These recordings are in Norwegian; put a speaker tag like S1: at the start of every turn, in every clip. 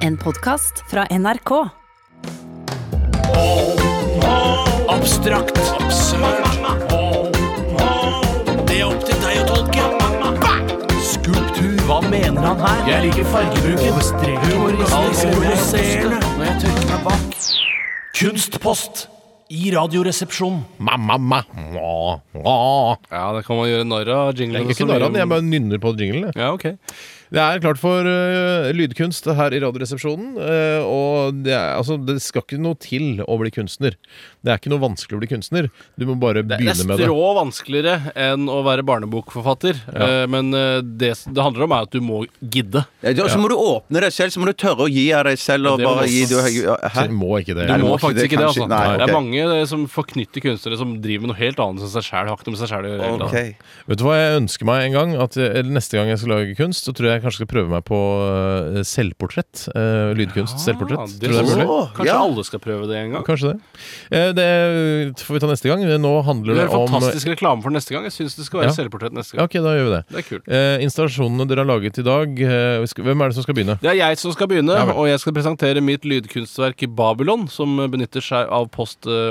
S1: En podkast fra NRK.
S2: Abstrakt. Absurd. Det er opp til deg å tolke. Skulptur. Hva mener han her? Jeg liker fargebruken. Alkoholiserende. Når jeg tørker meg bak. Kunstpost i Radioresepsjonen.
S3: Ma-ma-ma.
S4: Ja, det kan man gjøre narr av.
S3: Jeg
S4: Jingler
S3: er ikke narran, jeg bare nynner på jinglen. jeg.
S4: Ja, ok.
S3: Det er klart for øh, lydkunst her i Radioresepsjonen. øh, og det, er, altså, det skal ikke noe til å bli kunstner. Det er ikke noe vanskelig å bli kunstner. Du må bare
S4: Det
S3: begynne
S4: er
S3: med det.
S4: strå vanskeligere enn å være barnebokforfatter. Eh, Men eh, det s- det handler om er at du må gidde.
S5: Ja, da- så må du åpne deg selv, så må du tørre å gi av deg selv. Og
S4: Det må
S5: bare
S4: du
S5: gi, du, hæ?
S3: Du må ikke det.
S4: Du
S5: Nei,
S4: må
S5: må ikke
S4: faktisk
S5: det,
S4: ikke det,
S5: kanskje.
S4: altså.
S5: Nei,
S4: Det
S5: ok.
S4: er mange eh, som forknytter kunstnere som driver med noe helt annet enn seg sjæl. Har ikke noe med seg sjæl å gjøre. i det hele tatt.
S5: Ok.
S3: Vet du hva jeg ønsker meg en gang? At jeg, eller neste gang jeg skal lage kunst, så tror jeg jeg kanskje skal prøve meg på øh, selvportrett. Øh, lydkunst.
S4: Ah,
S3: selvportrett.
S4: det
S3: Tror du det er
S4: synes jeg-
S3: mulig?
S5: Å,
S4: Kanskje
S5: ja.
S4: alle skal prøve det en gang.
S3: Kanskje det. Eh, Det får vi ta neste gang. Nå
S4: Det
S3: handler
S4: er
S3: det
S4: en
S3: om
S4: fantastisk reklame for neste gang. Jeg syns det skal være
S3: Ja.
S4: selvportrett neste
S3: Ja,
S4: gang.
S3: Ok, da gjør vi det.
S4: Det er kult.
S3: Eh, installasjonene dere har laget i dag, eh, vi skal- hvem er det som skal begynne?
S4: Det er jeg som skal begynne,
S3: Ja vel.
S4: og jeg skal presentere mitt lydkunstverk i Babylon, som benytter seg av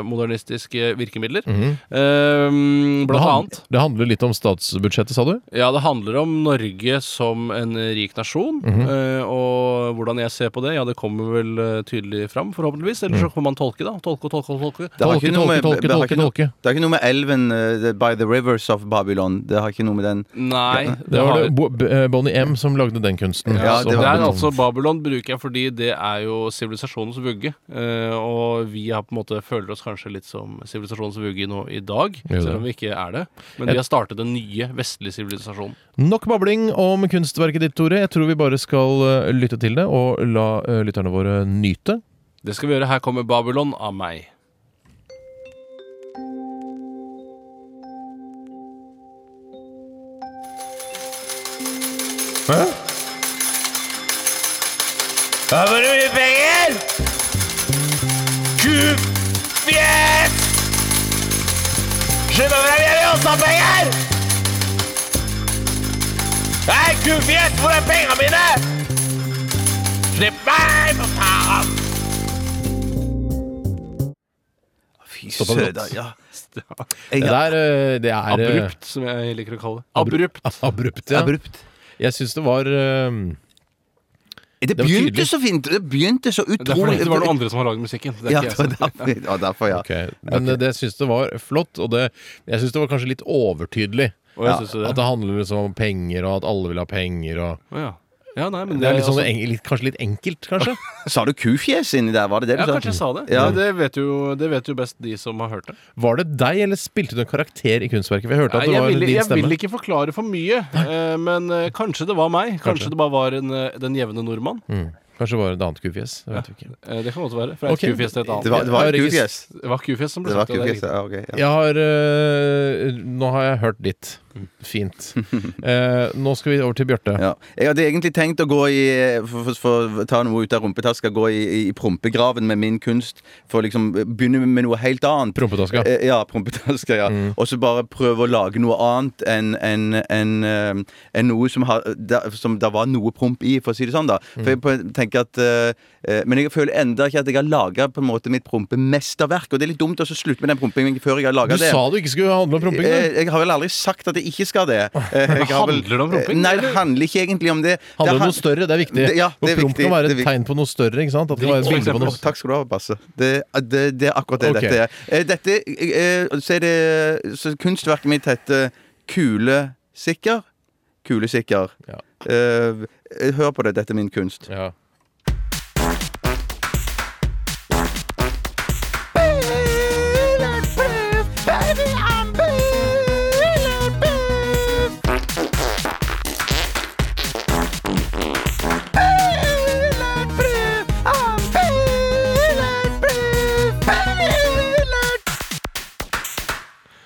S4: postmodernistiske virkemidler. Eh,
S3: Mhm. det,
S4: blant
S3: han-
S4: annet.
S3: det handler litt om statsbudsjettet, sa du?
S4: Ja, det handler om Norge som en rik nasjon,
S3: Mhm.
S4: eh, og hvordan jeg ser på det. Ja, det kommer vel eh, tydelig fram, forhåpentligvis. Eller
S3: Mhm.
S4: så får man tolke, da. Tolke og tolke og tolke.
S5: Det har
S3: Tolke,
S5: ikke noe med-
S3: tolke, tolke,
S5: det har
S3: tolke,
S5: ikke noe-
S3: tolke.
S5: Det er ikke noe med elven eh, the- by the rivers of Babylon. Det har ikke noe med den
S4: Nei,
S3: Det var det Bo- B- eh, Bonnie M som lagde den kunsten.
S5: Ja,
S3: som
S5: det
S4: Det
S5: var-
S4: er
S3: handlet om-
S4: altså Babylon bruker jeg fordi det er jo sivilisasjonens vugge. eh, og vi har på en måte føler oss kanskje litt som sivilisasjonens vugge nå i dag,
S3: det.
S4: selv om vi ikke er det. Men vi har startet den nye vestlige sivilisasjonen.
S3: Nok babling om kunstverket ditt, Tore. Jeg tror vi bare skal eh, lytte til det, og la eh, lytterne våre nyte.
S4: Det skal vi gjøre. Her kommer Babylon av meg.
S2: Her var det mye penger! Gudfjes! Skynd deg frem, jeg vil også ha penger! Hei, gudfjes, hvor er pengene mine? Slipp meg, for faen!
S5: Fy
S3: Stoppa brått.
S5: søda, ja.
S3: Det
S5: Jeg,
S3: der, eh, det er eh,
S4: Abrupt, som jeg liker å kalle det. Abrupt.
S3: Abrupt, ja.
S5: Abrupt.
S3: Jeg syns det var eh,
S5: Det
S3: var
S5: begynte
S3: tydelig.
S5: så fint! Det begynte så
S4: Det er fordi
S5: utrolig
S4: det var noen andre som har lagd musikken. Det er
S5: Ja,
S4: ikke jeg
S5: det
S4: som
S5: var derfor, det var derfor ja.
S3: Ok, men eh, det syns det var flott, og det, jeg syns det var kanskje litt overtydelig.
S4: Og jeg
S5: Ja,
S4: synes jo det.
S3: At det handler liksom om penger, og at alle vil ha penger, og
S4: Å, ja. ja, nei, men
S3: Det er litt sånn,
S4: altså-
S3: eng- litt, kanskje litt enkelt, kanskje?
S5: Sa du kufjes inni der? Var det det du
S4: Ja,
S5: sa?
S4: kanskje jeg sa det.
S5: Ja.
S4: Men Det, vet jo, det vet jo best de som har hørt det.
S3: Var det deg, eller spilte du en karakter i kunstverket? For jeg hørte at
S4: Nei,
S3: det
S4: jeg
S3: var
S4: vil,
S3: din
S4: jeg vil
S3: stemme.
S4: ikke forklare for mye, eh, men eh, kanskje det var meg. Kanskje, det bare var en, eh, den jevne nordmann.
S3: Mm. Kanskje det var et annet kufjes. Det vet vi ikke.
S4: Eh, det kan godt være. Fra et
S3: Ok.
S4: kufjes til et annet.
S5: Det var, det var
S3: Jeg har
S5: kufjes.
S4: Det var kufjes som ble
S5: Det var
S4: sagt. ja, det er
S5: kufjes, ja, ok. Ja.
S3: Jeg har øh, Nå har jeg hørt ditt. Fint. Eh, nå skal vi over til Bjarte.
S5: Ja. Jeg hadde egentlig tenkt å gå i For, for, for å ta noe ut av rumpetaska, gå i, i, i prompegraven med min kunst. For liksom eh, begynne med noe helt annet.
S3: Prompetaska.
S5: Eh, Ja, prompetaska, ja. Og så bare prøve å lage noe annet enn enn- enn, eh, enn noe som, har, der, som det var noe promp i, for å si det sånn, da. For jeg på- tenker at eh, eh, Men jeg føler enda ikke at jeg har laga mitt prompemesterverk. Og det er litt dumt å så slutte med den prompingen før jeg har
S3: Du
S5: laga det.
S3: sa du ikke skulle handle om promping.
S5: Eh,
S3: du.
S5: Jeg har vel aldri sagt at jeg ikke skal det. Eh, Jeg har vel-
S4: Handler det om promping,
S5: Nei, det
S4: eller?
S5: handler ikke egentlig om det. Det
S3: Handle om
S5: han-
S3: noe større, det er viktig.
S5: Det- ja,
S3: For
S5: det er
S3: promp
S5: viktig,
S3: kan være
S5: det er
S3: et tegn på noe større. ikke sant? At det var et
S4: Drikk,
S3: bilde
S4: for
S3: på
S5: Å,
S3: noe.
S4: eksempel.
S5: takk skal du ha, Basse. Det, det, det er akkurat det
S3: Ok.
S5: dette er. Eh, Dette eh, Så er det så Kunstverket mitt heter Kulesikker. Kulesikker.
S3: Ja.
S5: Eh, hør på det. Dette er min kunst.
S3: Ja.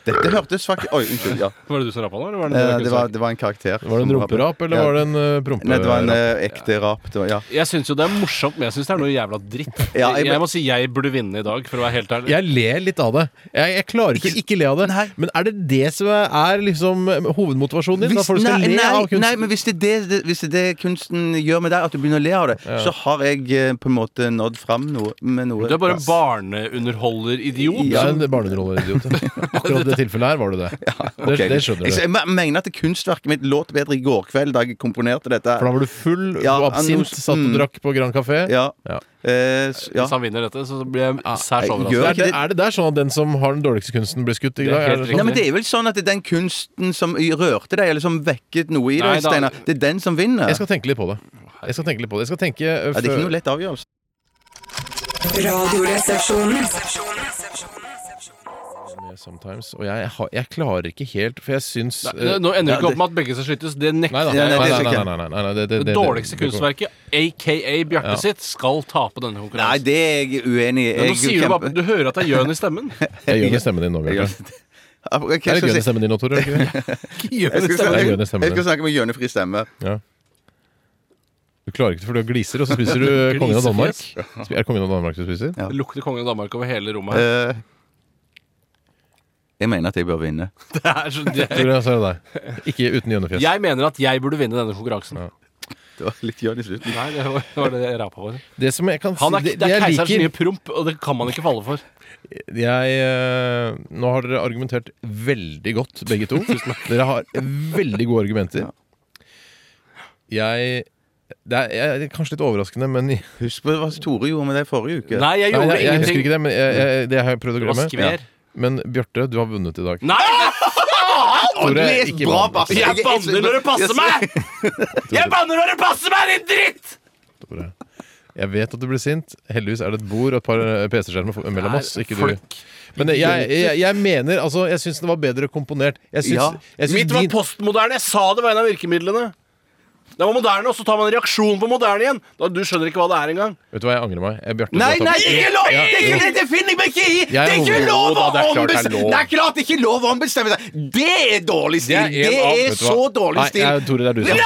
S5: Dette hørtes faktisk Oi, unnskyld. ja
S4: Var det du som rappa nå? eller var det,
S5: Eh,
S4: noe
S5: det var, det var en karakter.
S3: Var det en
S5: som
S3: rumperap, eller
S5: Ja.
S3: var det en uh, promperap?
S5: Nei, det var en eh, ekte rap. Det var, ja.
S4: Jeg syns jo det er morsomt, men jeg syns det er noe jævla dritt.
S5: Ja, jeg-
S4: jeg, må si jeg burde vinne i dag, for å være helt ærlig.
S3: Jeg ler litt av det. Jeg, jeg klarer ikke å ikke le av det. Men er det det som er liksom hovedmotivasjonen din?
S5: Hvis,
S3: At folk skal
S5: nei,
S3: le
S5: nei,
S3: av kunsten?
S5: nei, men hvis det, er det, det, hvis det er det kunsten gjør med deg, at du begynner å le av det, så har jeg eh, på en måte nådd fram noe, med noe.
S4: Du er bare en barneunderholderidiot.
S3: Du er en barneunderholderidiot. Akkurat i det tilfellet her var du det.
S5: Ok.
S3: det. Det skjønner
S5: jeg,
S3: du.
S5: jeg mener at kunstverket mitt låt bedre i går kveld da jeg komponerte dette.
S3: For da var du full,
S5: Ja,
S3: du var absint,
S5: nå-
S3: satt og
S5: mm.
S3: drakk på Grand Café.
S5: Ja.
S3: Ja.
S5: Eh, s- ja.
S4: Hvis han vinner dette, så blir jeg særs
S5: jeg
S4: overrasket.
S5: gjør-
S3: Er, det, er det der sånn at den som har den dårligste kunsten, blir skutt? i
S4: Det er
S3: dag?
S4: helt
S3: Er det
S4: riktig.
S5: Nei,
S3: sånn?
S5: men Det er vel sånn at det er den kunsten som rørte deg, eller som vekket noe i
S4: Nei,
S5: deg,
S4: da-
S5: Steinar, det er den som vinner.
S3: Jeg skal tenke litt på det. Jeg skal tenke litt på det. Jeg skal tenke eh,
S5: ja, det er ikke
S3: før-
S5: noe lett avgjørelse.
S1: Radioresepsjonen.
S3: sometimes, og jeg, har- jeg klarer ikke helt, for jeg syns
S4: Nei,
S3: eh,
S4: nå ender det ikke
S5: Ja,
S4: opp med at begge skal skytes. Det
S3: Nei da.
S4: nekter
S3: Nei,
S5: Ja, nei,
S3: nei,
S4: jeg.
S5: det
S3: nei, nei,
S5: skal
S3: nei,
S5: ikke.
S3: nei, nei, nei, det- det-
S4: Det
S3: det-
S4: dårligste
S3: det- det-
S4: kunstverket, aka Bjarte
S3: Ja.
S4: sitt, skal tape denne
S5: Nei,
S4: konkurransen.
S5: det er jeg uenig i.
S4: Men
S5: Jeg
S4: nå sier du
S5: kjemper-
S4: bare Du hører at det er gjøn i stemmen.
S3: Jeg gjør det stemmen din nå,
S5: Jeg-
S3: Bjarte.
S5: Ja,
S3: Er
S5: hva skal jeg
S3: det
S5: si?
S3: grønn i stemmen din nå, Tore? er det ikke det?
S5: Jeg skal,
S3: Det er
S5: snakke,
S3: Jønnes stemme,
S5: jeg skal
S3: det.
S5: snakke med gjønefri stemme.
S3: Ja. Du klarer ikke det, for du gliser, og så spiser du kongen av Danmark. Spi- Er det kongen av Danmark du spiser?
S5: Ja.
S4: Det lukter kongen av Danmark over hele rommet. her.
S5: Eh, jeg mener at jeg bør vinne.
S4: Det er så, det,
S3: Tore, så er det deg. Ikke uten gjønnefjes.
S4: jeg mener at jeg burde vinne denne konkurransen.
S3: Ja.
S5: Det var litt gjøn i slutten.
S4: Nei, det var, det var det jeg rapa for.
S3: Det som jeg kan si
S4: Han er,
S3: det-
S4: det er
S3: jeg
S4: keiserens
S3: liker-
S4: nye promp, og det kan man ikke falle for.
S3: jeg, eh, Nå har dere argumentert veldig godt, begge to. Dere har veldig gode argumenter. Jeg det er, jeg er kanskje litt overraskende, men jeg,
S5: Husk på hva Tore gjorde med deg forrige uke.
S4: Nei, jeg
S3: nei,
S4: gjorde
S3: jeg, jeg husker
S4: ingenting.
S3: ikke det. Men jeg, jeg, det har jeg prøvd å
S4: Det var
S3: glemme.
S4: skver.
S3: Men Bjarte, du har vunnet i dag.
S4: Nei!
S3: Tore,
S5: det er
S3: ikke
S5: bra
S3: vann.
S5: bass.
S4: Jeg banner når det passer meg! Jeg banner når det passer meg, din dritt!
S3: Tore. Jeg vet at du blir sint. Heldigvis er det et bord og et par eh, PC-skjermer for- mellom oss. Ikke du.
S4: Folk.
S3: Men eh, jeg, jeg, jeg mener altså Jeg syns det var bedre komponert. Jeg syns,
S5: Ja.
S3: jeg syns
S4: Mitt var
S3: din-
S4: postmoderne. Jeg sa det var en av virkemidlene. Det var moderne, og så tar man en reaksjon på moderne igjen. Da, du skjønner ikke hva det er engang.
S3: Vet du hva, jeg angrer meg. Jeg, Bjarte, du
S5: Nei,
S3: har
S5: nei,
S3: tatt-
S5: ikke lov!
S3: Ja,
S5: Det er
S3: jo.
S5: ikke det, det finner jeg meg ikke i! Det
S3: Jeg
S5: er ikke
S3: er
S5: lov
S4: Jo
S5: å
S4: da, det er klart det er
S5: ombestemme
S4: lov.
S5: Det er klart det er ikke lov å ombestemme seg! Det er dårlig
S3: Det
S5: stil!
S3: en av-
S5: Det er
S3: vet du
S5: så
S3: hva?
S5: dårlig
S3: Nei,
S5: stil!
S3: jeg, Tore, det er du som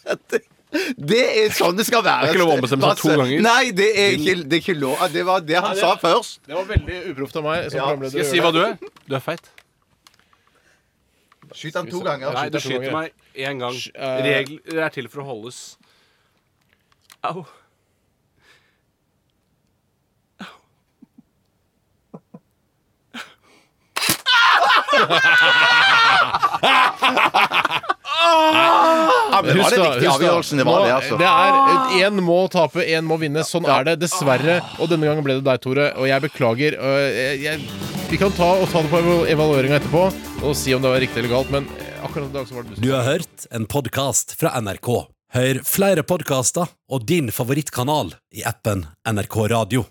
S5: Det er sånn det skal være.
S4: Det er ikke lov å ombestemme seg to
S5: Basse.
S4: ganger.
S5: Nei, det er ikke, det er ikke lov. Det var det han sa først.
S3: Det var veldig uproft av meg.
S5: Ja, programleder
S4: Skal jeg si hva du er? Du er feit.
S5: Skyt han to ganger.
S4: Nei, du
S3: to
S4: skyter
S3: ganger.
S4: meg én gang.
S3: eh.
S4: Regler er til for å holdes. Au.
S5: Ja, men det var den riktige avgjørelsen. Det var det, altså.
S3: er Én må tape, én må vinne. Sånn er det, dessverre. Og denne gangen ble det deg, Tore. Og jeg beklager. øh, Jeg, jeg, vi kan ta, og ta det på evalueringa etterpå og si om det var riktig eller galt, men eh, akkurat i dag så var det du som
S6: Du har hørt en podkast fra NRK. Hør flere podkaster og din favorittkanal i appen NRK Radio.